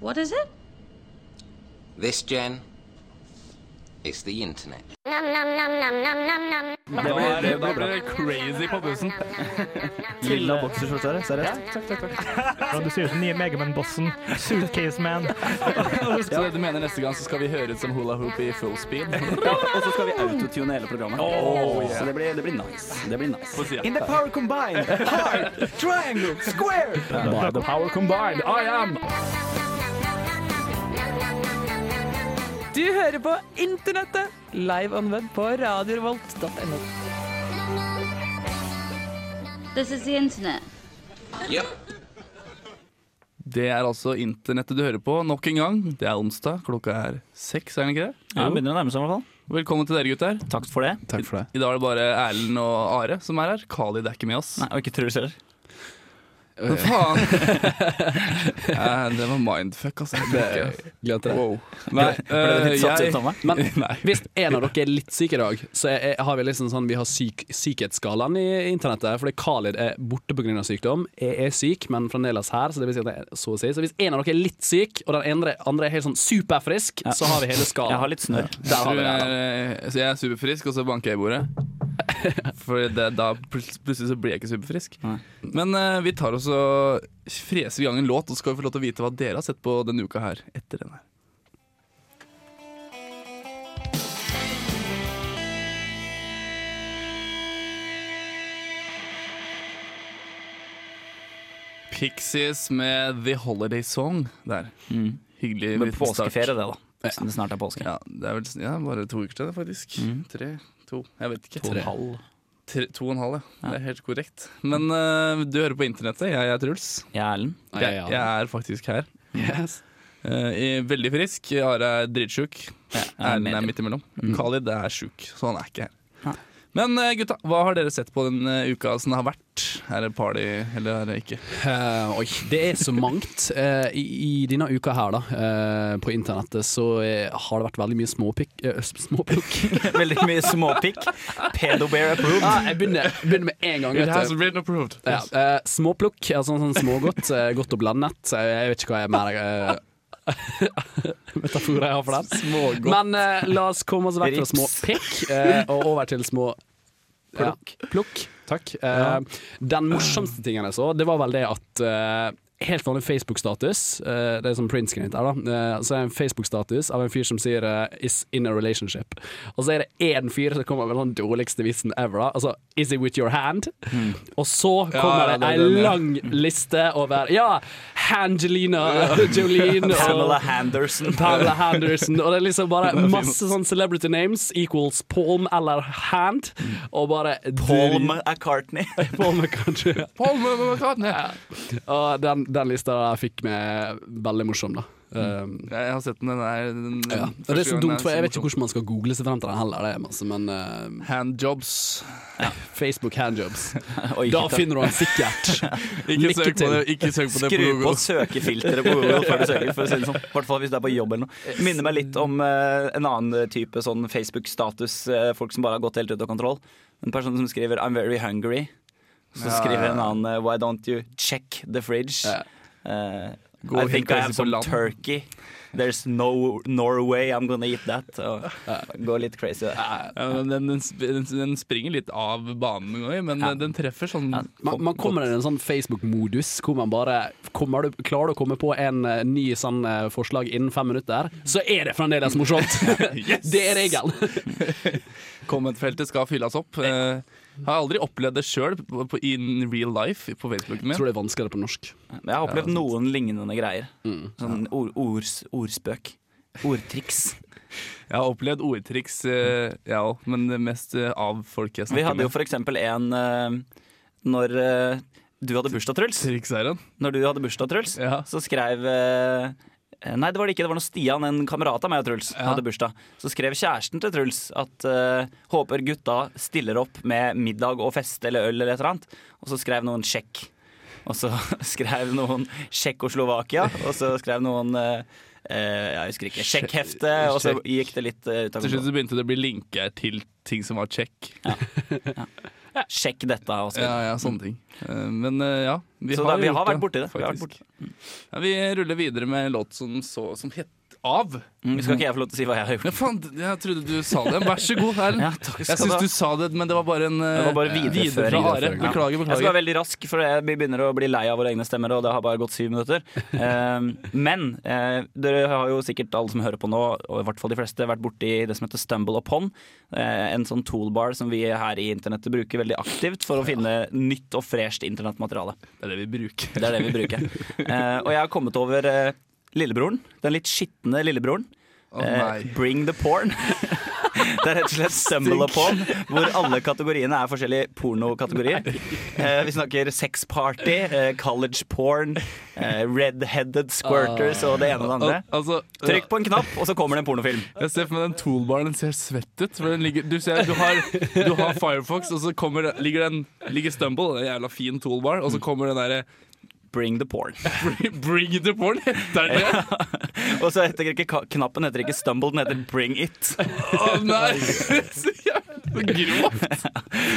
What is it? This, Jen, is the internet. Det ble, det ble bra. crazy på bussen. Lilla bokserskjorte her, seriøst? Ja, du ser ut som nye Megaman-bossen. Suitcase Man. Så du mener neste gang så skal vi høre ut som hula hoop i full speed? Ja, og så skal vi autotune hele programmet. Oh, yeah. Så det blir, det blir nice. Det blir nice. In the power combined, heart, triangle, square. By the power combined, I am Du hører på internettet, live on web på radiorevolt.no. This is the internet. Yep. Det er altså internettet du hører på nok en gang. Det er onsdag, klokka er seks, er den ikke det? Ja, begynner å nærme seg, i hvert fall. Velkommen til dere, gutter. Takk for det. Takk for det. I dag er det bare Erlend og Are som er her. Khalid er ikke med oss. Nei, og ikke Truls heller. Men faen! Eh, det var mindfuck, altså. Det, Glemte det. Ble Nei, du eh, litt satt ut av jeg, meg? Men hvis en av dere er litt syk i dag, så er, er, har vi liksom sånn Vi har syk, sykhetsskalaen i internettet. Fordi Khalid er borte pga. sykdom. Jeg er syk, men fremdeles her. Så det vil si at jeg er så å si. Så hvis en av dere er litt syk, og den andre, andre er helt sånn superfrisk, så har vi hele Jeg har skalaen. litt snørr. Der har tror vi det. jeg, er- eh, så jeg er superfrisk, og så banker jeg i bordet. For det, da plut- plutselig så blir jeg ikke superfrisk. Nei. Men eh, vi tar oss og freser i gang en låt, og så skal vi få lov til å vite hva dere har sett på denne uka her. Etter den her. Pixies med The Holiday Song der. Hyggelig Men liten start. påskeferie, det, da. Siden det snart er påske. Ja, det er vel ja, bare to uker til det, faktisk. Mm. Tre, to, jeg vet ikke. To og en halv. Tre, to og en halv, ja. Det er helt korrekt. Men eh, du hører på internettet. Jeg er Truls. Jeg er Erlend. Nei, Jeg, ja. jeg er faktisk her. Yes. Eh, i- veldig frisk. Are er dritsjuk. Erlend er medium. midt imellom. Mm. Khalid er sjuk, så han er ikke her. Men eh, gutta, hva har dere sett på den eh, uka som har vært? Er det party, eller er det ikke? Eh, oi, det er så mangt. Eh, i, I denne uka her, da, eh, på internettet, så eh, har det vært veldig mye småpikk eh, Småplukk? Veldig mye småpikk. Pedobear approved. ah, jeg begynner, begynner med en gang. Vet du. been approved. Ja, eh, småplukk, altså sånn, sånn smågodt, eh, godt og blandet. Eh, jeg vet ikke hva jeg mer eh, metaforer jeg har for den. Smågodt. Men eh, la oss komme oss vekk fra Rips. småpikk eh, og over til små plukk. Ja, plukk. Takk. Eh, Den morsomste tingen jeg så, det var vel det at eh, Helt vanlig Facebook-status. eh, det er sånn printscreen her, da. Eh, så er det en Facebook-status av en fyr som sier eh, 'is in a relationship'. Og så er det én fyr som kommer med den dårligste vitsen ever. Da. Altså 'is it with your hand'? Og så kommer Hmm. ja, det det er ei den, ja. lang liste over Ja! Hangelina Jolene og Pamela Henderson. Pamela Henderson. Og det er liksom bare masse sånn celebrity names equals palm eller hand. Og bare Paul McCartney. Palm kanskje. Og den, den lista der fikk meg veldig morsom, da. Um, Jeg har sett den. den, er, den ja. Og det er så dumt, for jeg vet ikke hvordan man skal google seg frem til den heller, det er masse, men uh, Handjobs. Facebook handjobs. Oi, Da da. finner du den sikkert. Ikke Lykke søk på til. det, ikke søk på det Skru på Google. søkefilteret på Google før du søker. For å si det sånn. I hvert fall hvis du er på jobb eller noe. Minner meg litt om eh, en annen type sånn Facebook-status. eh, folk som bare har gått helt ut av kontroll. En person som skriver 'I'm very hungry'. Så skriver en annen eh, 'Why don't you check the fridge'? Ja. Eh, Gå I og think hente I have disse på some land. turkey. There's no Norway I'm gonna eat that. Og, Gå litt crazy der. Ja, men den, den, sp- den, den springer litt av banen noen ganger, men den treffer sånn Man, man kommer i en sånn Facebook-modus hvor man bare kommer du, Klarer du å komme på en eh, ny sånn eh, forslag innen fem minutter, så er det fremdeles morsomt! Det er regelen. Kommentfeltet skal fylles opp. Eh, har aldri opplevd det sjøl in real life på Facebooken Jeg min. tror det er vanskeligere på norsk. Men jeg har opplevd noen lignende greier. Mm. Sånn ord, ords, ordspøk. Ordtriks. Jeg har opplevd ordtriks, eh, ja, men det mest eh, av folk jeg Vi snakker hadde jo med. for eksempel en eh, Når eh, du hadde bursdag, Truls Triks er han. Når du hadde bursdag, Truls Ja. Så skrev eh, Nei, det var det ikke, det var noe Stian, en kamerat av meg og Truls Hadde bursdag, så skrev kjæresten til Truls At eh, håper gutta stiller opp Med middag og fest eller øl Eller et eller annet, og så skrev noen sjekk Og så skrev noen Tsjekkoslovakia, og så skrev noen eh, eh, Jeg husker ikke Sjekkhefte, og så gikk det litt eh, ut av Til slutt kontroll. så begynte det å bli linker til ting som var check. Sjekk dette. altså. Og så Ja, videre. ja, sånne ting. Eh, Men eh, ja, vi Så har, da, vi gjort har vært det, borti det. Vi har vært faktisk. Mm. borti det. Ja, vi ruller videre med en låt som, så, som het Av. Mm, skal ikke jeg få lov til å si hva jeg har Ja, gjort? faen, jeg trodde du sa det. Vær så god, Erlend. Ja, takk skal jeg du ha. syns du sa det, men det var bare en eh, Det var bare videreføring. videre fra Are. Videreføring, ja. Beklager, Jeg skal beklager. være veldig rask, for jeg begynner å bli lei av våre egne stemmer. Og det har bare gått syv minutter. Ehm, men eh, dere har jo sikkert alle som hører på nå, og i hvert fall de fleste, vært borti det som heter stumble upon. Eh, en sånn toolbar som vi her i internettet bruker veldig aktivt for å finne nytt og fresht internettmateriale. Det er det vi bruker. Det er det vi bruker. Eh, og jeg har kommet over eh, lillebroren. Den litt skitne lillebroren. Å Eh, nei. bring the porn. Det er rett og slett stumble upon, hvor alle kategoriene er forskjellige pornokategorier. Eh, vi snakker sex party, eh, college porn, eh, red-headed squirters og det ene og det andre. Al altså, Trykk på en knapp, og så kommer det en pornofilm. Jeg ser for meg den toolbaren, den ser svett ut. For den ligger, du, ser, du, har, du har Firefox, og så kommer, det- ligger, den, ligger Stumble, en jævla fin toolbar, og så kommer den derre Bring the porn. Bring, bring the porn, heter den det? Og så heter ikke ka- knappen heter ikke stumble, den heter bring it. Å nei! Så jævla grovt.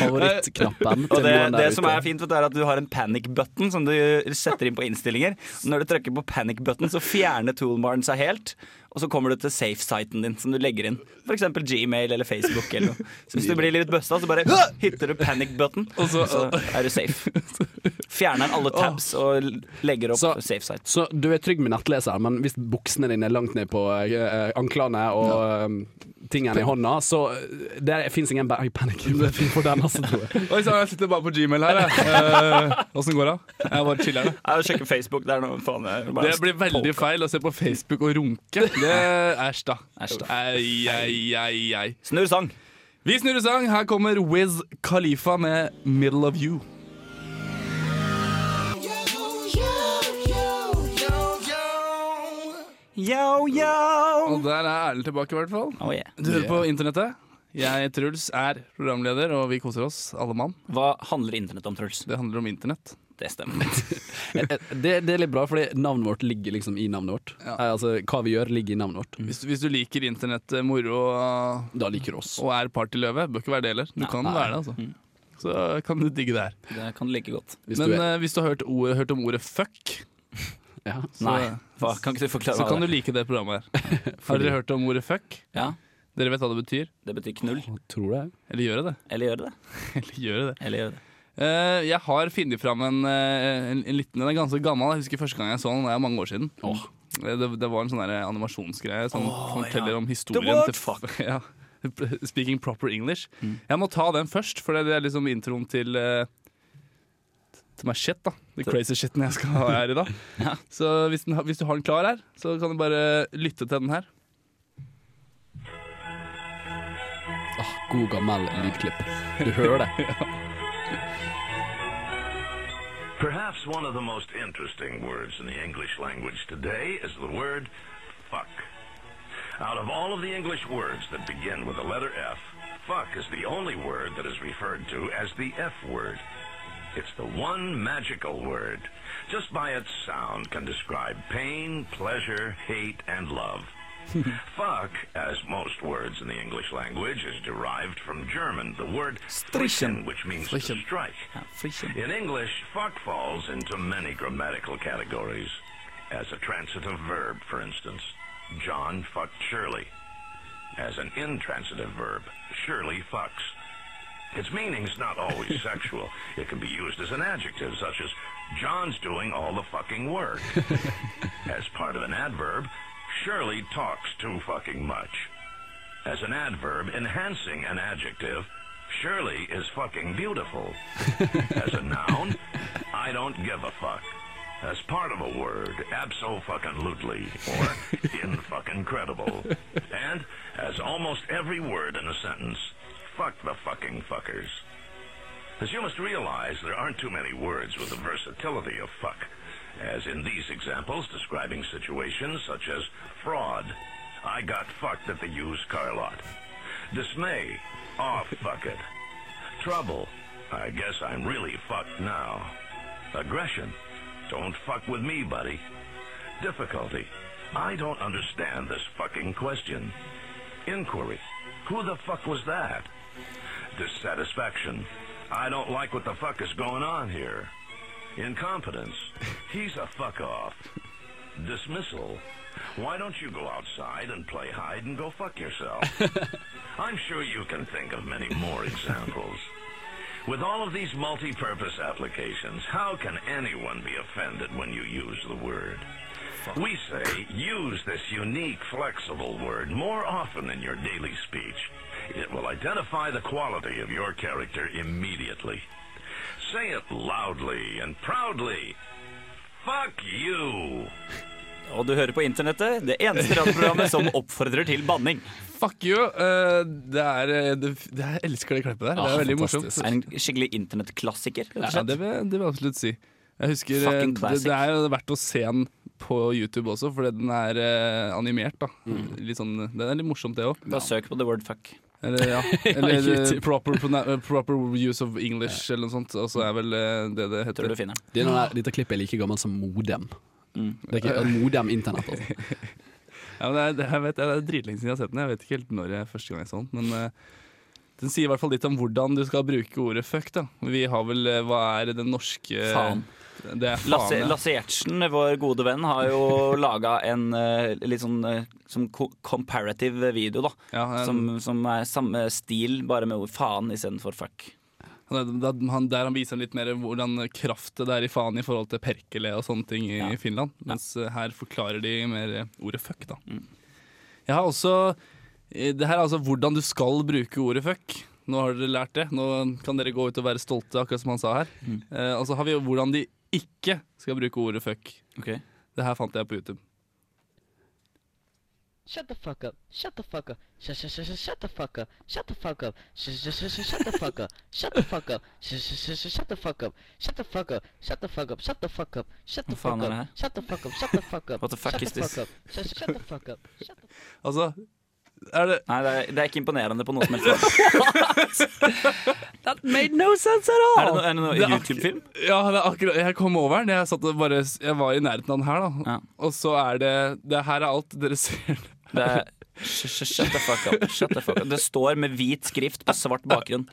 Favorittknappen Og til det, noen der det som ute. er fint, vet du, er at du har en panic button som du setter inn på innstillinger. Når du trykker på panic button, så fjerner toolbaren seg helt. Og så kommer du til safe-siten din, som du legger inn. F.eks. Gmail eller Facebook. Eller noe. Så hvis du blir litt busta, så bare hitter du panic button, og så er du safe. Fjerner alle tabs og legger opp Så- safe-site. Så du er trygg med nettleseren, men hvis buksene dine er langt ned på eh, anklene og eh, tingene i hånda, så det fins ingen ba- panic button for den, altså, tror jeg. Oi sann, jeg sitter bare på Gmail her, jeg. Eh, Åssen går det? Jeg bare chiller'n. Jeg sjekker Facebook, det er noe faen jeg Det bare blir veldig feil å se på Facebook og runke. Det Æsj, da. Æsj da. Ei, ei, ei, ei. Snurr sang. Vi snurrer sang. Her kommer Wiz Khalifa med 'Middle of You'. Yo, yo. Og der er Erlend tilbake, i hvert fall. Oh, yeah. Du hører på internettet. Jeg, Truls, er programleder, og vi koser oss, alle mann. Hva handler internett om, Truls? Det handler om internett. Det stemmer. Eh, eh, Det, det er litt bra, fordi navnet vårt ligger liksom i navnet vårt. Eh, Altså, hva vi gjør, ligger i navnet vårt. Hvis, du- hvis du liker internett, eh, moro og, Da liker du oss. og er partyløve, bør ikke være det heller. Du kan være det, altså. Så kan du digge det her. Det kan du like godt. Hvis Men du er, eh, hvis du har hørt, ord, hørt om ordet fuck, ja. Nei, hva, kan ikke du forklare så hva kan du det er? like det programmet her. Har dere hørt om ordet fuck? Ja, Dere vet hva det betyr? det betyr knull. Tror det. Eller gjør det det? Eller gjør det det? Eller gjør det det? Eller gjør det det? Eh, jeg har funnet fram en, eh, en, en liten en. Den er ganske gammel. Jeg husker første gang jeg så den, det er mange år siden. Eh, Det, det var en sånn der animasjonsgreie som forteller om historien word til ja. Speaking proper English. Jeg må ta den først, for det er liksom introen til eh, Til meg shit, da. The crazy shiten jeg skal ha her i dag. Så hvis, den, har- hvis du har den klar her, så kan du bare lytte til den her. Ah, god gammel lydklipp. Du hører det. Perhaps one of the most interesting words in the English language today is the word fuck. Out of all of the English words that begin with the letter F, fuck is the only word that is referred to as the F word. It's the one magical word. Just by its sound can describe pain, pleasure, hate, and love. Fuck, as most words in the English language, is derived from German, the word Strichen. "strichen," which means to Strichen. strike. Ja, frikjent. In English, fuck falls into many grammatical categories. As a transitive verb, for instance, John fucked Shirley. As an intransitive verb, Shirley fucks. Its meaning's not always sexual. It can be used as an adjective, such as John's doing all the fucking work. as part of an adverb, Shirley talks too fucking much. As an adverb enhancing an adjective, Shirley is fucking beautiful. As a noun, I don't give a fuck. As part of a word, abso fucking lutely or in fucking credible. And as almost every word in a sentence, fuck the fucking fuckers. As you must realize, there aren't too many words with the versatility of fuck, as in these examples describing situations such as fraud, I got fucked at the used car lot, dismay, aw fuck it, trouble, I guess I'm really fucked now, aggression, don't fuck with me, buddy, difficulty, I don't understand this fucking question, inquiry, who the fuck was that? dissatisfaction. I don't like what the fuck is going on here. Incompetence. He's a fuck off. Dismissal. Why don't you go outside and play hide and go fuck yourself? I'm sure you can think of many more examples. With all of these multi-purpose applications, how can anyone be offended when you use the word? We say use this unique, flexible word more often in your daily speech. It will identify the quality of your character immediately. Say it loudly and proudly. Fuck you! Og du hører på internettet, det eneste radioprogrammet som oppfordrer til banning. Fuck you! eh, det er, eh, det, det, jeg elsker det klippet der. Det er veldig morsomt. Er en skikkelig internettklassiker. rett og Ja, slett. det vil, jeg- det vil jeg absolutt si. Jeg husker eh, Fucking det, classic. det er jo verdt å se den på YouTube også, fordi den er eh, animert. da Mm. Litt sånn, Den er litt morsomt, det òg. Bare søk på the word fuck. Eller, ja. eller YouTube. eh, proper, prona- eh, proper use of English, eller noe sånt. Og så er vel eh, det det Tror heter. du finner den. Denne her, dette klippet er like gammelt som modem. Mm. Det er ikke modem internett, altså. Ja, men det, er, det, jeg vet, det er dritlenge siden jeg har sett den. Jeg vet ikke helt når jeg første gang jeg så den. Men eh, den sier i hvert fall litt om hvordan du skal bruke ordet fuck. da Vi har vel eh, Hva er den norske Faen. Det er faen. Lasse, ja. Lasse Gjertsen, vår gode venn, har jo laga en eh, litt sånn eh, som co- comparative video, da. Ja, en- Som, som er samme stil, bare med ord faen istedenfor fuck. Han er- da- han, der han viser litt mer hvordan kraft det er i faen i forhold til perkele og sånne ting i Ja. Mm. i Finland. Mens eh, her forklarer de mer eh, ordet fuck, da. Jeg har også eh, Det her er altså hvordan du skal bruke ordet fuck. Nå har dere lært det. Nå kan dere gå ut og være stolte, akkurat som han sa her. Mm. Eh, og så har vi jo hvordan de ikke skal bruke ordet fuck. Okay. Det her fant jeg på YouTube. Shut the fuck up. Shut the fuck up. Shut shut shut shut- shut the fuck up. Shut the fuck up. Shut shut shut shut- shut the fuck up. Shut the fuck up. Shut shut shut shut- shut the fuck up. Shut the fuck up. Shut the fuck up. Shut the fuck up. Shut the Vad fan fuck är det här? up. Shut the fuck up. Shut the fuck up. What the fuck Shut is the this? fuck up. Shut shut the fuck up. Shut the Altså, er det Nei, det er, det er ikke imponerende på noe som helst. måte. That made no sense at Er det all! noe, er det Det er noe ak- YouTube-film? Ja, det er akkurat, jeg kom over den. Jeg, satt og bare, jeg var i nærheten av den her, da. Ja. Og så er det Det her er alt dere ser. Det er sh- sh- Shut the fuck up. Shut the fuck up. Det står med hvit skrift på svart bakgrunn.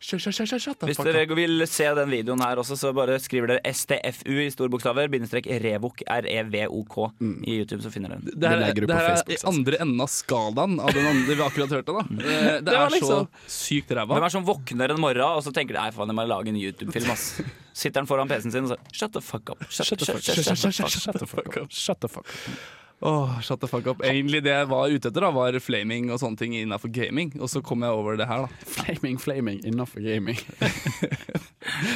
Shut, shut, shut, shut, shut the Hvis fuck dere up. vil se den videoen her også, så bare skriver dere STFU i store bokstaver, bindestrek revok, E R-E-V-O-K, i YouTube, så finner dere den. det her, Det legger du det på her er Facebook, i sant? andre enden av skalaen av den andre vi akkurat hørte. da Det, det, var er liksom- så sykt Hvem ræva. er det som våkner en morgen og så tenker de, Nei, faen, jeg må lage en YouTube-film? ass Sitter han foran PC-en sin og så Shut the fuck up. Shut, shut, shut, shut, shut, shut, shut. the fuck up. Shut the fuck up. Åh, shut the fuck up. Egentlig det jeg var ute etter, da var flaming og sånne ting innafor gaming. Og så kom jeg over det her, da. Flaming, flaming, innenfor gaming.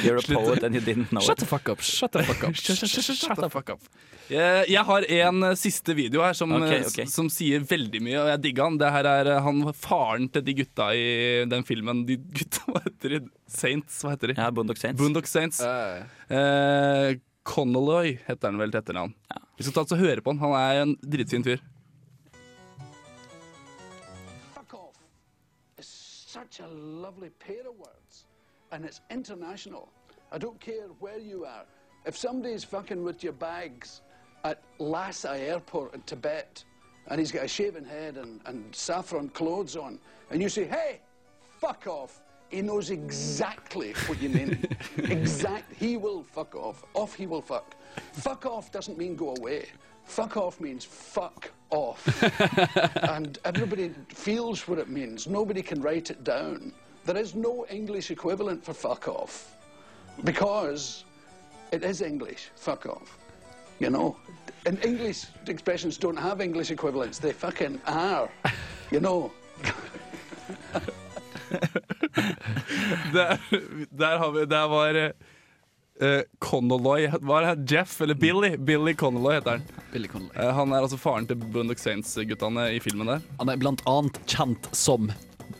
You're a poet and you didn't know Shut it. the fuck up, shut the fuck up. Shut, shut, shut, shut, shut the fuck up. Jeg, jeg har en eh, siste video her som, Ok, eh, ok. s- som sier veldig mye, og jeg digger han. Det her er eh, han faren til de gutta i den filmen. De gutta, hva heter de? Saints, hva heter de? Ja, Boondock Saints. Boondock Saints. Eh, Connolly heter han vel til etternavn. Vi skal ta oss og høre på han. Han er en dritfin fyr. Fuck off is such a lovely pair of words, and it's international. I don't care where you are. If somebody's fucking with your bags at Lhasa Airport in Tibet, and he's got a shaven head and, and saffron clothes on, and you say, hey, fuck off, he knows exactly what you mean. exact. He will fuck off. Off he will fuck. Fuck off doesn't mean go away. Fuck off means fuck off and everybody feels what it means. Nobody can write it down. There is no English equivalent for fuck off because it is English, fuck off. You know? And English expressions don't have English equivalents, they fucking are. You know? Der, der, har vi, der var eh, Connolly Hva er det? Jeff? Eller Billy? Billy Connolly heter han. Billy Connolly. Eh, han er altså faren til Boondock Saints-guttene i filmen der. Han er blant annet kjent som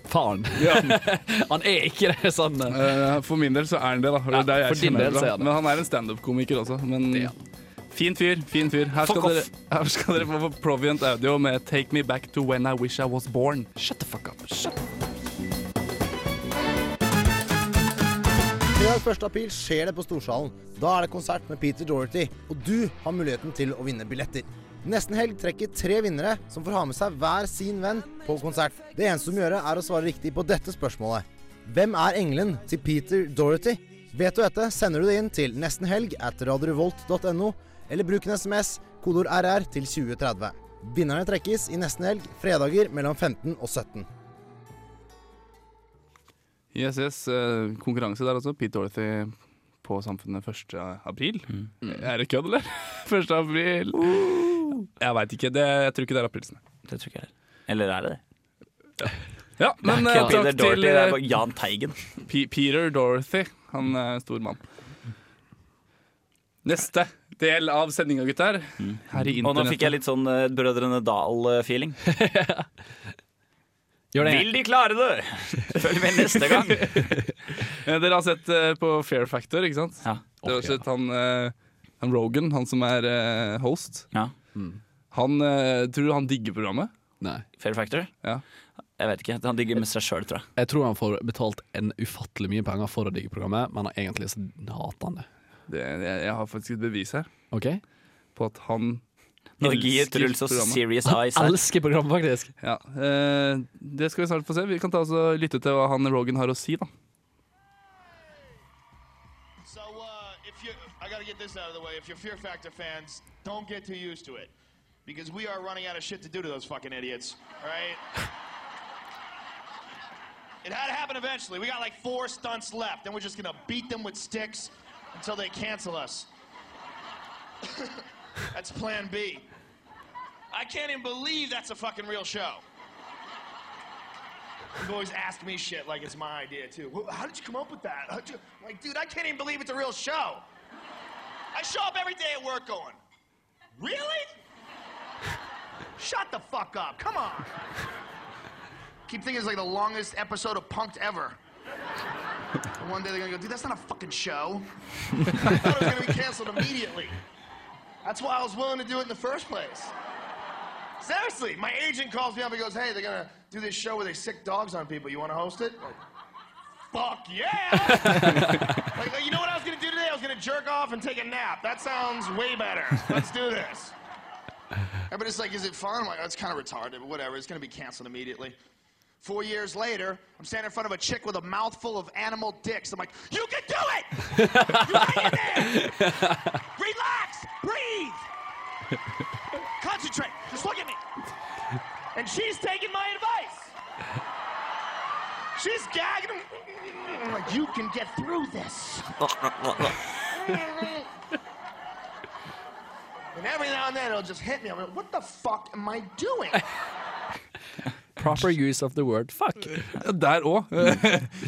faren. han er ikke det sånn eh, Eh, for min del så er han det, da. Det er Ja, der jeg for din kjenner del det fra. så er han det. Men han er en standup-komiker også. Men Det er fin fyr. fin fyr Her skal, Fuck dere, off. her skal dere få Proviant Audio med 'Take Me Back to When I Wish I Was Born'. Shut the fuck up. Shut Fredag 1. april skjer det på Storsalen. Da er det konsert med Peter Dorothy, og du har muligheten til å vinne billetter. Nesten helg trekker tre vinnere som får ha med seg hver sin venn på konsert. Det eneste du må gjøre, er å svare riktig på dette spørsmålet. Hvem er engelen til Peter Dorothy? Vet du dette, sender du det inn til nestenhelg at radiorevolt.no, eller bruk en SMS, kodord RR, til 2030. Vinnerne trekkes i nesten helg, fredager mellom 15 og 17. Yes, yes. eh, Konkurranse der også. Pete Dorothy på Samfunnet 1. april. Mm. Er det kødd, eller? 1. april! Uh. Jeg veit ikke. Det, jeg tror ikke det er aprilsene. Det tror ikke jeg Eller er det det? Ja, men det er eh, ikke takk Peter Dorothy, til det eh, er bare Jahn Teigen. P Peter Dorothy. Han er en stor mann. Neste del av sendinga, gutter. Her i Og Mm. nå fikk jeg internettet. litt sånn eh, Brødrene Dal-feeling. Gjør det. Vil de klare det? Følg med neste gang. Eh, Dere har sett eh, på Fair Factor, ikke sant? Dere har sett han, eh, han Rogan, han som er eh, host. Han, eh, tror du han digger programmet? Nei. Fair Factor? Ja. Jeg vet ikke. Han digger med seg sjøl, tror jeg. Jeg tror han får betalt en ufattelig mye penger for å digge programmet, men egentlig så hater han det. Det, jeg, jeg har faktisk et bevis her Ok? på at han Norge gir elsker Truls og programmet. Serious Eyes her. Elsker programmet, faktisk. Ja, eh, Det skal vi snart få se. Vi kan ta oss og lytte til hva han Rogan har å si, da. So uh, if you, I got to get this out of the way. If you're Fear Factor fans, don't get too used to it, because we are running out of shit to do to those fucking idiots. all Right? it had to happen eventually. We got like four stunts left, and we're just gonna beat them with sticks until they cancel us. that's Plan B. I can't even believe that's a fucking real show. You've always asked me shit like it's my idea too. Wh- How did you come up with that? How'd you, like, dude, I can't even believe it's a real show. I show up every day at work going, really? Shut the fuck up. Come on. Keep thinking it's like the longest episode of Punked ever. And one day they're gonna go, dude, that's not a fucking show. I thought it was gonna be canceled immediately. That's why I was willing to do it in the first place. Seriously, my agent calls me up and goes, "Hey, they're gonna do this show where they sick dogs on people. You want to host it?" Like, Fuck yeah! like, like, you know what I was gonna do today? I was gonna jerk off and take a nap. That sounds way better. Let's do this. Everybody's like, "Is it fun?" I'm like, "That's kind of retarded, but whatever. It's gonna be canceled immediately." Four years later, I'm standing in front of a chick with a mouthful of animal dicks. I'm like, "You can do it! Relax, breathe." Concentrate. Just look at me. And she's taking my advice. She's gagging. I'm Like you can get through this. And every now and then it'll just hit me. I'm like, what the fuck am I doing? Proper use of the word fuck. Der òg.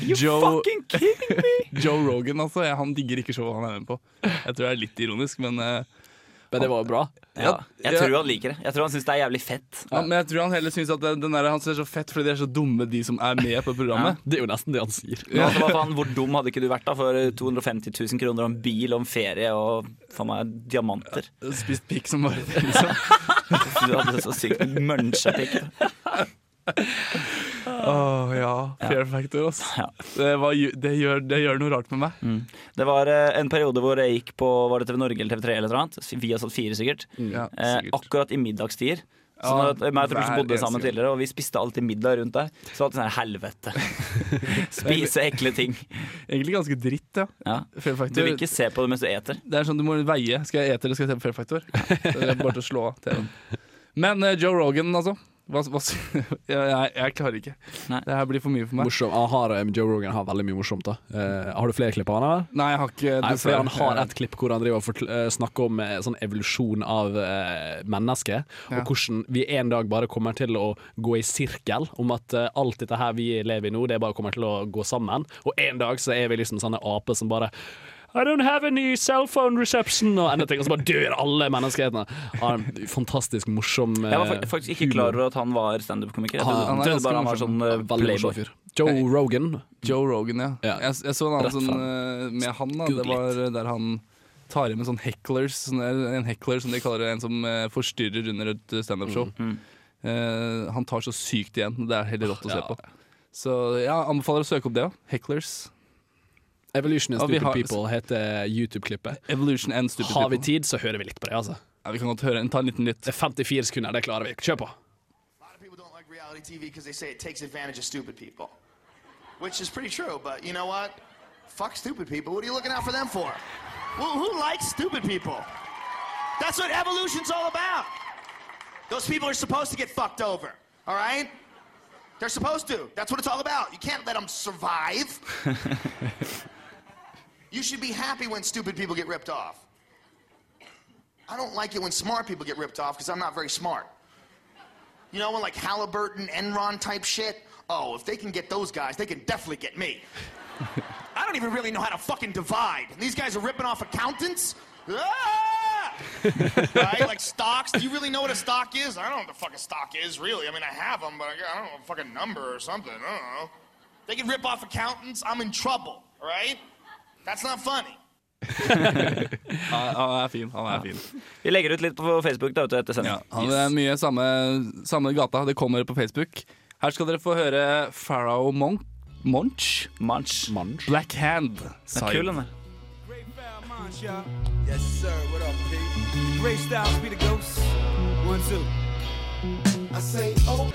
Joe, Joe Rogan, altså. jeg- Han digger ikke showet han er med på. Jeg tror det er litt ironisk, men eh, Men det var jo bra. Ja. Jeg tror han liker det. Jeg tror han syns det er jævlig fett. Ja, men jeg tror han heller syns at den den der, han synes det er så fett fordi de er så dumme, de som er med på programmet. Det er jo nesten det han sier. Men altså, hva faen, hvor dum hadde ikke du vært da for 250 000 kroner og en bil og en ferie og faen meg diamanter? Spist pikk som bare det. Du hadde så sykt munchepikk. Åh, ja. Fair factor, ass. Det, var, ju- det, gjør, det gjør noe rart med meg. Det var eh, en periode hvor jeg gikk på Var det TV Norge eller TV3 eller noe annet? Vi har satt fire, sikkert. Ja, Eh, akkurat i middagstider. Så Mm. Ja, når meg og Truls hver bodde eneste sammen gang. tidligere, og vi spiste alltid middag rundt der. Så var det alltid sånn her, helvete. Spise ekle ting. Egentlig ganske dritt, ja. Ja. Fair factor. Du vil ikke se på det mens du eter. Det er sånn du må veie. Skal jeg ete eller skal jeg se på Fair Factor? Så det er bare til å slå av TV-en. Men eh, Joe Rogan, altså. Hva, hva, jeg, jeg, jeg klarer ikke. Det her blir for mye for meg. Morsom. Han har, eh, Joe Rogan har veldig mye morsomt. da Eh, Har du flere klipp av han? eller? Nei, jeg har ikke Nei, fordi dessverre. han har et klipp hvor han driver og fortl- eh, snakker om eh, sånn evolusjon av eh, mennesket, Ja. og hvordan vi en dag bare kommer til å gå i sirkel om at eh, alt dette her vi lever i nå, det bare kommer til å gå sammen. Og en dag så er vi liksom sånne aper som bare I don't have any cell phone reception og anything, og så bare dør alle menneskehetene. Han er en fantastisk morsom eh, Jeg var fak- faktisk Eh, ikke klar over at han var standup-komiker. Jeg trodde, trodde bare han var sånn eh, playboy. Joe Rogan. Joe Rogan, ja. Jeg, jeg så en annen Rett sånn fram. eh, med han, da. Det var eh, der han tar i med sånn hecklers. Sånn der, en heckler som de kaller det, en som eh, forstyrrer under et standup-show. Eh, han tar så sykt igjen. Det er helt rått å se Ja. på. Så jeg anbefaler å søke opp det òg. Hecklers. Evolution and Og vi Stupid har- People heter YouTube-klippet. Evolution and Stupid Har vi People. tid, så hører vi litt på det, altså. Ja, vi kan godt høre. Ta en liten lytt. Det er 54 sekunder, det klarer vi. Kjør på. lot of people don't like reality TV because they say it takes advantage of stupid people. which is pretty true. But you know what? Fuck stupid people. What are you looking out for them for? Well, who likes stupid people? That's what evolution's all about. Those people are supposed to get fucked over. All right? They're supposed to. That's what it's all about. You can't let them survive. you should be happy when stupid people get ripped off. I don't like it when smart people get ripped off because I'm not very smart. You know, when like Halliburton, Enron type shit? Oh, if they can get those guys, they can definitely get me. I don't even really know how to fucking divide. And these guys are ripping off accountants? Ah! right? Like stocks. Do you really know what a stock is? I don't know what the fuck a stock is, really. I mean, I have them, but I I don't know a fucking number or something. I don't know. They can rip off accountants. I'm in trouble, all right? That's not funny. Han han er fin. Han er fin. Vi legger ut litt på Facebook da, vet du, etter sending. Ja, Det er mye samme, samme gata. Det kommer på Facebook. Her skal dere få høre Pharaoh Monk. Munch? Munch. Black Hand. Sa kul, jo. den der. Yes, sir. What up, P? Ray Styles be the ghost. One, two. I say, oh.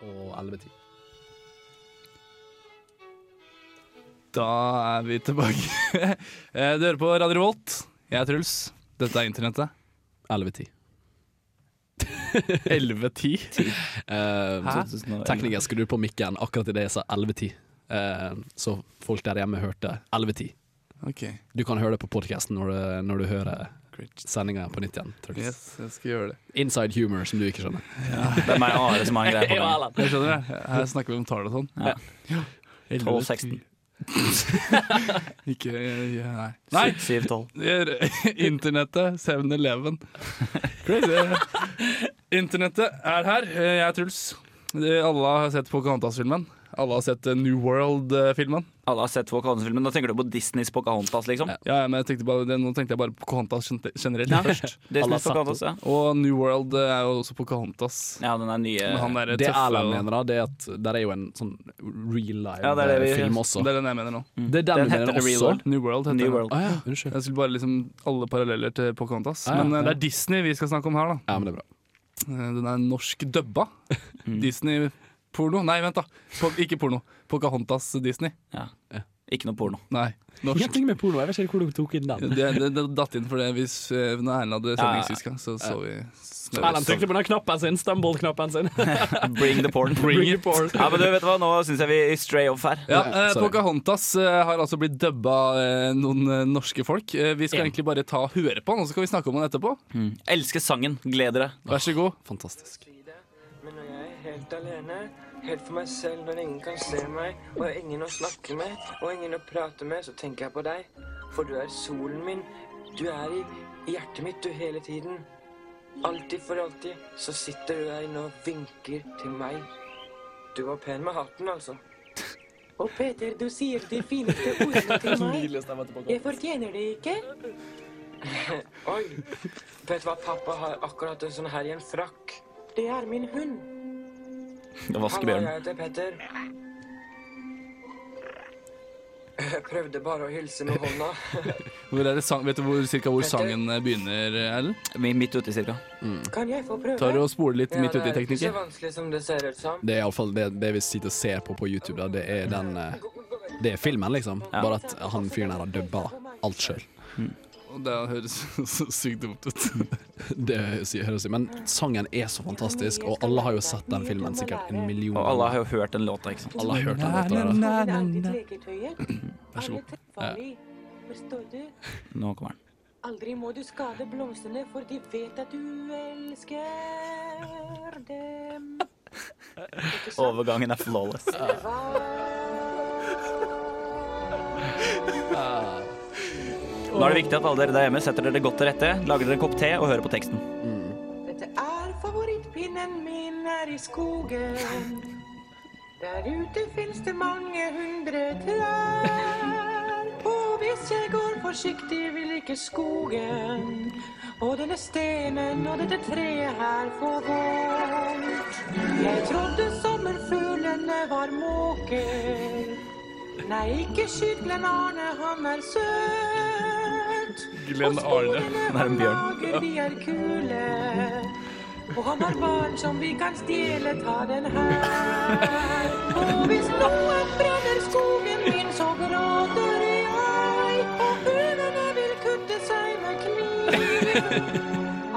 Og 11-10. Da er vi tilbake. Eh, du hører på Radio Revolt. Jeg er Truls. Dette er internettet. 11-10. 11-10? Hæ? Uh, Tekniker skrur på mikken akkurat idet jeg sa 11-10. Eh, så folk der hjemme hørte 11-10. Ok. Du kan høre det på podkasten når, du- når du hører sendinga på nytt igjen. Truls. Yes, jeg skal gjøre det. Inside humor, som du ikke skjønner. Det er meg og Are som har en greie på gang. Jeg skjønner det. Her snakker vi om tall og sånn. Ja. 12, 16. Ikke ja, Nei. nei. Nei. 7, 12. Det er Internettet, 7-Eleven. Crazy. Internettet er her. Eh, Jeg er Truls. Eh, Alle har sett Pocahontas-filmen. Alle har sett eh, New World-filmen. Alle har sett Pocahontas-filmen. Da tenker du på Disneys Pocahontas, liksom? Ja, ja, men jeg tenkte bare, det- Nå tenkte jeg bare på Pocahontas gen- generelt Ja. først. Disney's Alle har sett Pocahontas, det. Og New World eh, er jo også Pocahontas. Ja, den er nye. Men han er det tøffe Erlend og- mener, da, det er at der er jo en sånn real Ja, det er det vi- life-film også. Det er den jeg mener nå. Det er den, du mener også? New World heter New den. World. Ah, ja, unnskyld. Jeg skulle bare liksom alle paralleller til Pocahontas. Ah, ja, men eh, det ja. er Disney vi skal snakke om her, da. Ja, men det er bra. Eh, Den er norsk dubba. Mm. Disney-porno. Nei, vent, da. Po ikke porno. Pocahontas Disney. Ikke noe porno. Nei. Norsk. Ingenting med porno. Jeg vet ikke hvor du tok inn den. Det, det, det datt inn for det hvis eh, når Erlend hadde Ja, ja. sending sist gang, så så vi snøvis. Erlend trykte på den knappen sin, Stumble-knappen sin. Bring the porn. Bring it porn. Ja, men du vet du hva, nå syns jeg vi stray off her. Ja, eh, Pocahontas eh, har altså blitt dubba eh, noen eh, norske folk. Eh, vi skal En. egentlig bare ta høre på den, og så skal vi snakke om den etterpå. Mm. Elsker sangen. Gled dere. Vær så god. Ah, Fantastisk. Men når jeg er helt alene, helt for meg selv, når ingen kan se meg, og jeg har ingen å snakke med, og ingen å prate med, så tenker jeg på deg. For du er solen min. Du er i, i hjertet mitt, du, hele tiden. Alltid for alltid så sitter du her inne og vinker til meg. Du var pen med hatten, altså. Og Peter, du sier de fineste ordene til meg. Jeg fortjener det ikke. Oi! Vet du hva pappa har akkurat en sånn her i en frakk? Det er min hund. Det var Hallo, vaskebjørnen. jeg heter Petter. Jeg prøvde bare å hilse med hånda. Hvor er det sang, vet du hvor, cirka hvor sangen eh, begynner, Erlend? Midt uti, cirka. Kan jeg få prøve? Tar du og spoler litt Ja, midt uti, Det er ikke så tekniker? vanskelig som det ser ut som. Det er iallfall det, det vi sitter og ser på på YouTube. Da. Det er den eh, Det er filmen, liksom. Bare at han fyren her har dubba alt sjøl. Og Det høres så sykt dumt ut. Det høres høres ut. Men sangen er så fantastisk, og alle har jo sett den filmen sikkert en million Og alle har jo hørt den låta, ikke sant. Alle har hørt den låta der, da. Vær så god. Farlig. Forstår du? Nå kommer den. Aldri må du skade blomstene, for de vet at du elsker dem. Overgangen er flawless. Nå er det viktig at alle dere der hjemme setter dere godt til rette, lager dere en kopp te og hører på teksten. Dette er favorittpinnen min her i skogen. Der ute fins det mange hundre trær. Og hvis jeg går forsiktig, vil ikke skogen og denne stenen og dette treet her få vondt. Jeg trodde sommerfuglene var måker. Nei, ikke skyt Glenn Arne, han er søt. Glenn Arne. Det er en bjørn. Dager de er kule. Og han har barn som vi kan stjele, ta den her. Og hvis noen brenner skogen min, så gråter jeg. Og hundene vil kutte seg med kniv.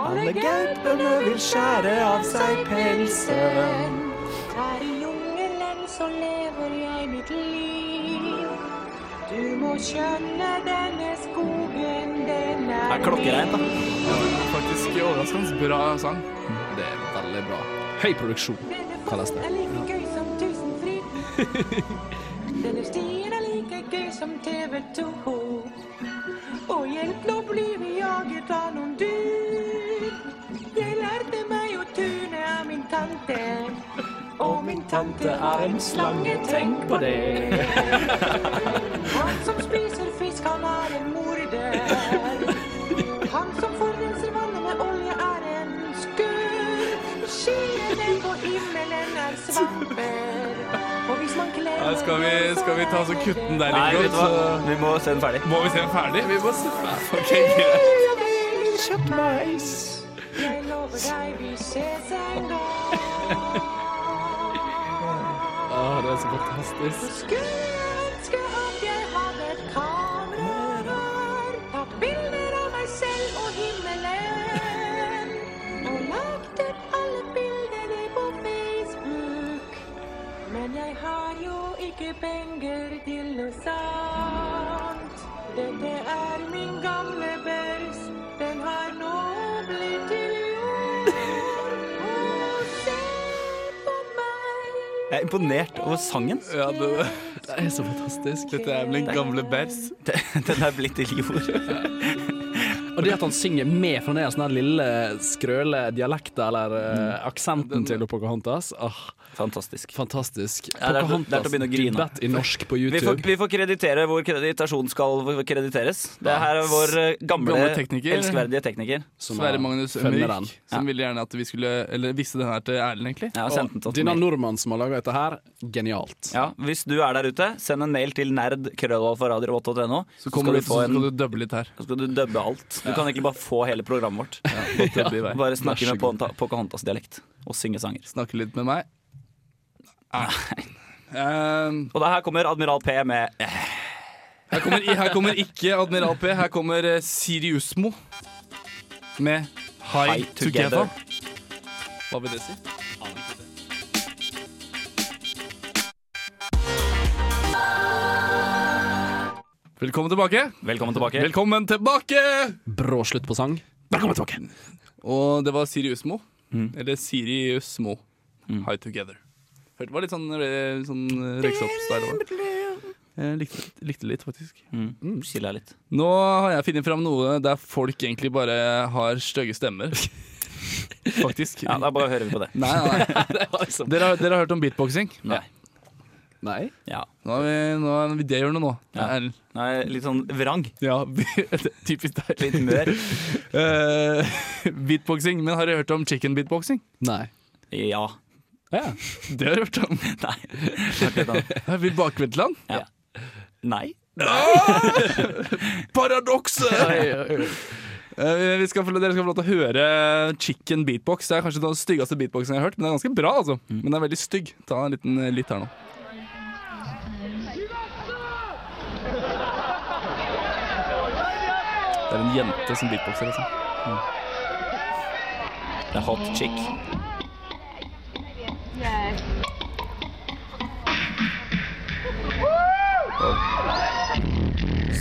Alle gaupene vil skjære av seg pelsen. Her i jungelen så lever jeg mitt liv. Du må skjønne denne skogen, den er er klokkereint, da. Faktisk overraskende bra sang. Det er veldig bra. Høy produksjon, kalles det. er like gøy som Tusenfryd. Denne stien er like gøy som TV 2. Og hjelp, nå blir vi jaget av noen dyr. Jeg lærte meg å tune av min tante. Og min tante er en slange, tenk på det. Han som spiser fisk, han er en morder. Han som forurenser vannet med olje, er en skurk. Skyene på himmelen er svamper. Og hvis man kler Nei, skal, vi, skal vi ta oss og kutte den der litt? Nei, vet du hva? Vi må se den ferdig. Må vi se den ferdig? Vi må se Ok, greit. Jeg vil kjøpe mais. Jeg lover deg, vi ses en gang. Å, det er så fantastisk. Skulle ønske at jeg hadde et kamera her. Tatt bilder av meg selv og himmelen. Og lagt ut alle bildene på Facebook. Men jeg har jo ikke penger til noe sant. Dette er min gamle børs. Den har nå blitt til jord. Og se Jeg er imponert over sangen. Ja, det, det er så fantastisk. Dette er min gamle bærs. Den er blitt til jord. Og det at han synger med fremdeles den der lille skrøle dialekten eller Mm. eh, aksenten til Pocahontas ah. Fantastisk. Fantastisk. Ja, det er til- det er til å begynne å grine. dubbet i norsk på Vi får, YouTube. vi får kreditere hvor kreditasjon skal krediteres. Det her er vår eh, gamle, Gamle tekniker. elskverdige tekniker. Sverre Magnus Mørk, som ville gjerne at vi skulle Eller visste den her til Erlend, egentlig. Og Dina Nordmann som har laga dette her, genialt. Ja, Hvis du er der ute, send en mail til nerd.krøllalfaradio8.no. Så kommer du, så skal du dubbe litt her. Så skal du dubbe alt. Du kan egentlig bare få hele programmet vårt. bare dubbe i vei. Bare Vær snakke så med Pocahonta- Pocahontas-dialekt og synge sanger. Snakke litt med meg. Ehm, og da her kommer Admiral P med eh, Her kommer, her kommer ikke Admiral P, her kommer eh, Siriusmo med High, High together. Together. Hva vil det si? Velkommen tilbake. Velkommen tilbake. Velkommen tilbake! Brå slutt på sang. Velkommen tilbake! Og det var Siriusmo. Mm. Eller Siriusmo. High together. Hørte det var litt sånn, eh, sånn eh, Rexops-style over det. Jeg likte, likte litt, faktisk. Mm, Chilla litt. Nå har jeg funnet fram noe der folk egentlig bare har stygge stemmer. Faktisk. Ja, da bare hører vi på det. Nei, liksom- nei. dere, har, dere har hørt om beatboxing? Nei. Nei? Ja. Nå er vi, nå er vi det gjør noe nå. Ja. Erlend. Nei, litt sånn vrang. Ja, det er typisk deg. Litt mør. Eh, beatboxing. Men har dere hørt om chicken beatboxing? Nei. Ja. Det har dere hørt om? Nei. Er vi i bakvendtland? Ja. Nei. Paradokset! Eh, Vi skal, få- dere skal få lov til å høre Chicken Beatbox. Det er kanskje den styggeste beatboxen jeg har hørt, men den er ganske bra. altså Men den er veldig stygg. Ta en liten eh, litt her nå. Det er en jente som beatboxer, altså. Det er hot chick.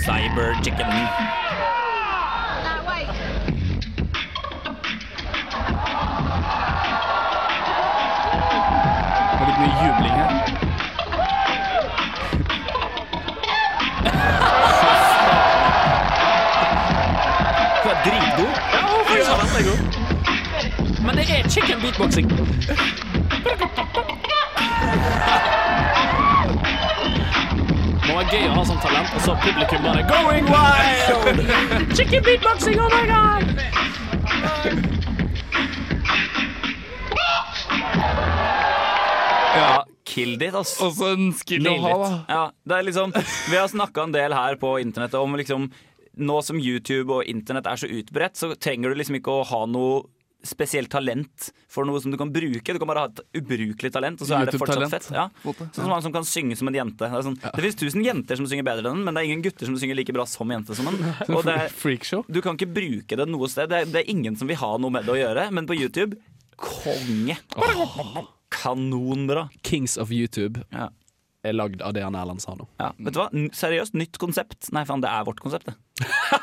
Cyber chicken. Det er litt mye jubling her. Du er dritgod. Ja, fy faen, den er god. Men det er chicken beatboxing. Det var gøy å ha sånt talent, og så publikum bare Going wild! Chicken beatboxing, oh my god! Ja, Killed it, ass. Og så en skill å ha, da. Ja, det er liksom, vi har snakka en del her på internettet om liksom Nå som YouTube og internett er så utbredt, så trenger du liksom ikke å ha noe spesielt talent for noe som du kan bruke. Du kan bare ha et ubrukelig talent, og så er det fortsatt YouTube-talent, fett. Ja. på en måte. Sånn som han som kan synge som en jente. Det, er sånn, det finnes tusen jenter som synger bedre enn den, men det er ingen gutter som synger like bra som jente som den. Og det er, du kan ikke bruke det noe sted. Det er, det er ingen som vil ha noe med det å gjøre, men på YouTube konge. Kanonbra. Kings of YouTube er lagd av det han Erlend sa nå. Ja, vet du hva? N- Seriøst, nytt konsept. Nei, faen, det er vårt konsept, det.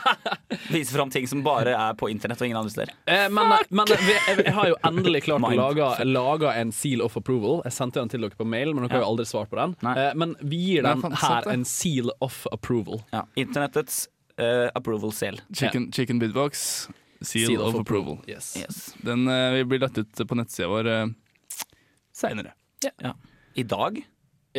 Vise fram ting som bare er på internett og ingen andre steder. Eh, Men, men vi, jeg har jo endelig klart å lage, lage en seal of approval. Jeg sendte den til dere på mail, men dere har jo aldri svart på den. Eh, Men vi gir Nei, den faen, sant her det. en seal of approval. Ja, internettets eh, approval seal. Chicken, chicken Bitbox, seal, Seal of, of approval. approval, yes. Yes. Den eh, vil bli lagt ut på nettsida vår uh, seinere. Ja. I dag?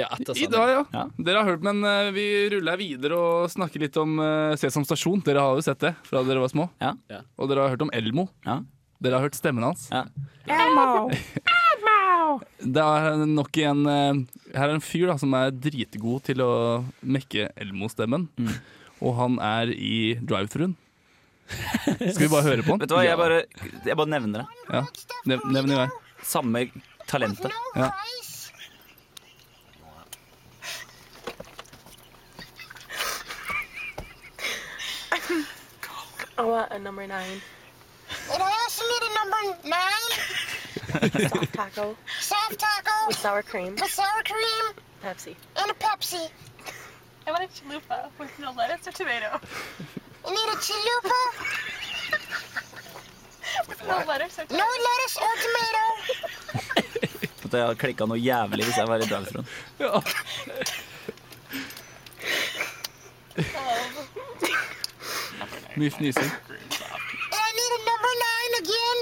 I dag, ja. Dere har hørt, men eh, vi ruller her videre og snakker litt om eh, Sesam stasjon. Dere har jo sett det fra dere var små. Ja. Og dere har hørt om Elmo. Dere har hørt stemmen hans. Elmo! Elmo! Det er nok igjen eh, Her er en fyr da, som er dritgod til å mekke Elmo-stemmen. Mm. Og han er i drive-thruen. Skal vi bare høre på han? Vet du hva, jeg bare, jeg bare nevner det. Ja, nev nevn i vei. Samme talentet. Ja. I want a uh, number nine. It has me to number nine. Soft taco. Soft taco. With sour cream. With sour cream. Pepsi. And a Pepsi. I want a chalupa with no lettuce or tomato. You need a chalupa? with no lettuce or tomato. No lettuce or tomato. At jeg hadde klikka noe jævlig hvis jeg var i drive-thruen. Mye fnising. And I need a number nine again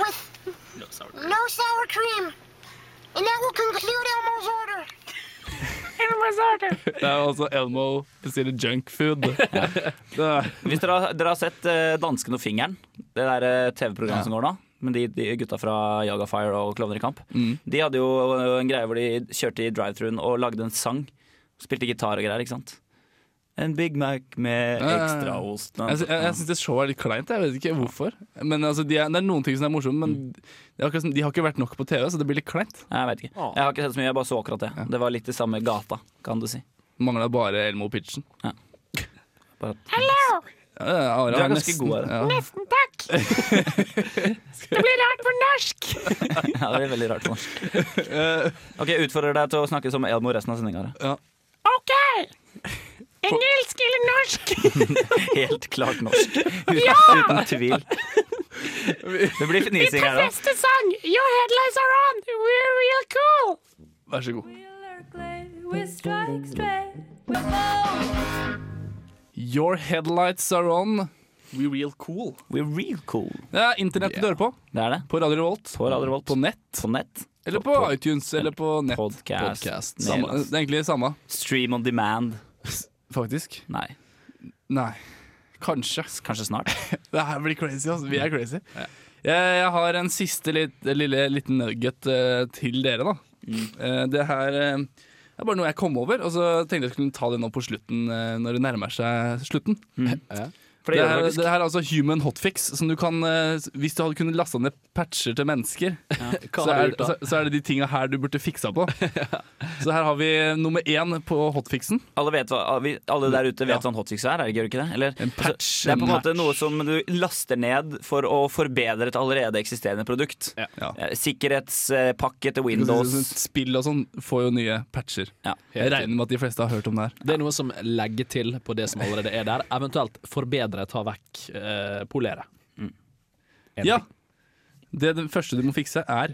with no sour cream. And that will conclude Elmo's order. Elmo's order. Det er jo altså Elmo bestiller junkfood. Hvis dere har, dere har sett eh, Dansken og fingeren, det der eh, TV-programmet som går nå, med de, de gutta fra Jaga Fire og Klovner i kamp, Mm. de hadde jo eh, en greie hvor de kjørte i drive-thruen og lagde en sang. Spilte gitar og greier, ikke sant? En Big Mac med ekstraost. Jeg, sy- jeg, jeg syns det showet er litt kleint. Jeg vet ikke hvorfor. Men altså, de er, Det er noen ting som er morsomme, men det er akkurat som- de har ikke vært nok på TV, så det blir litt kleint. Jeg vet ikke. Jeg har ikke sett så mye, jeg bare så akkurat det. Det var litt i samme gata, kan du si. Mangla bare Elmo Pitchen. Ja. Hello! Ja, ja, Ara Du er ganske nesten- god, Ara. ja. Nesten takk! Det blir rart på norsk! ja, det er veldig rart på norsk. Ok, jeg utfordrer deg til å snakke som Elmo resten av sendinga. OK! Engelsk eller norsk? Helt klart norsk. Uten, Ja! uten tvil. Det blir fnising Mitt her òg. beste sang! Your headlights are on! We're real cool! Vær så god. Your headlights are on. We real cool. We're real cool. Det er internett du hører på. Det er det. På Radio Revolt. På Radio Revolt. På nett. På nett. Eller på, iTunes, eller på nett. Podcast. Samme, det er egentlig det samme. Stream on demand. Faktisk. Nei. Nei. Kanskje. Kanskje snart. det her blir crazy, altså. Vi er crazy. Jeg, jeg har en siste litt, lille liten nugget eh, til dere, da. Eh, det her eh, er bare noe jeg kom over, og så tenkte jeg skulle ta det nå på slutten, eh, når det nærmer seg slutten. For det det, gjør her, det faktisk. det her er altså human hotfix, som du kan eh, Hvis du hadde kunnet laste ned patcher til mennesker, så, er, hadde du gjort så, da? så er det de tinga her du burde fiksa på. Så her har vi nummer én på hotfixen. Alle, vet hva, vi- alle der ute vet Ja. hva en hotfix er, er det ikke- gjør det ikke det? Eller, altså, patch, det er på en en måte noe som du laster ned for å forbedre et allerede eksisterende produkt. Eh, Sikkerhetspakke til Windows. Spill og sånn får jo nye patcher. Jeg regner med at de fleste har hørt om det her. Det er noe som legger til på det som allerede er der. Eventuelt forbedre, ta vekk, eh, polere. Ja! Det, det første du må fikse, er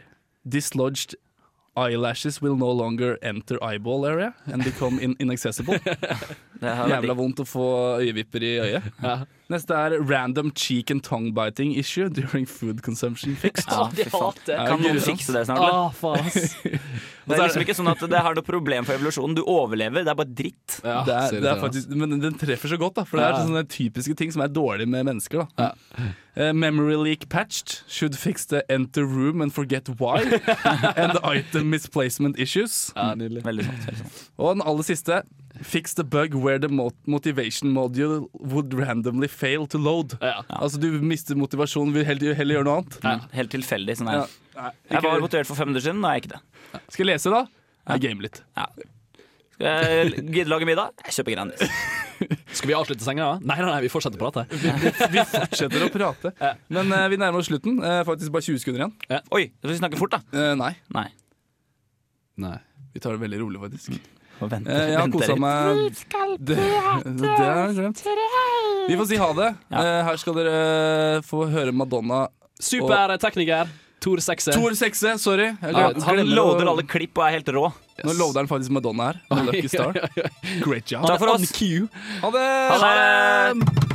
dislodged eyelashes will no longer enter eyeball area and become in inaccessible. har vært Jævla vondt å få øyevipper i øyet. Neste er random cheek and tongue biting issue during food consumption fixed. Ja, fy faen. Kan noen fikse det snart? Ah, eller? Det er liksom ikke sånn at det er noe problem for evolusjonen. Du overlever, det er bare dritt. det er, det er faktisk, men den treffer så godt, da. For det er Ja. sånne typiske ting som er dårlig med mennesker. Da. Eh, memory leak patched. Should fix the enter room and forget why. and item misplacement issues. Veldig sant, veldig sant. Og den aller siste. Fix the bug where the mo- motivation module would randomly fail to load. Altså Du mister motivasjonen, vil heller, heller gjøre noe annet. Helt tilfeldig. sånn her. Ja. Nei, Jeg var ikke- motivert for fem minutter siden, nå er jeg ikke det. Skal jeg lese, da? Jeg gamer litt. Skal jeg gidde lage middag? Jeg kjøper Grandis. Skal vi avslutte senga, da? Nei, nei, nei, vi fortsetter å prate. Vi fortsetter å prate. Men eh, vi nærmer oss slutten. Eh, faktisk bare 20 sekunder igjen. Eh, Oi, skal vi snakke fort, da? nei. nei. Vi tar det veldig rolig, Mm. faktisk. Vent, Eh, jeg har kosa meg. Det, det har jeg glemt. Vi får si ha det. Eh, her skal dere få høre Madonna. Supertekniker Tor Sekse. Tor Sekse, sorry. Jeg Ja, glemte- han glemmer loader å- alle klipp og er helt rå. Nå loader han faktisk Madonna her. Med Lucky Star. Great job. Takk for oss. Ha det! Ha det!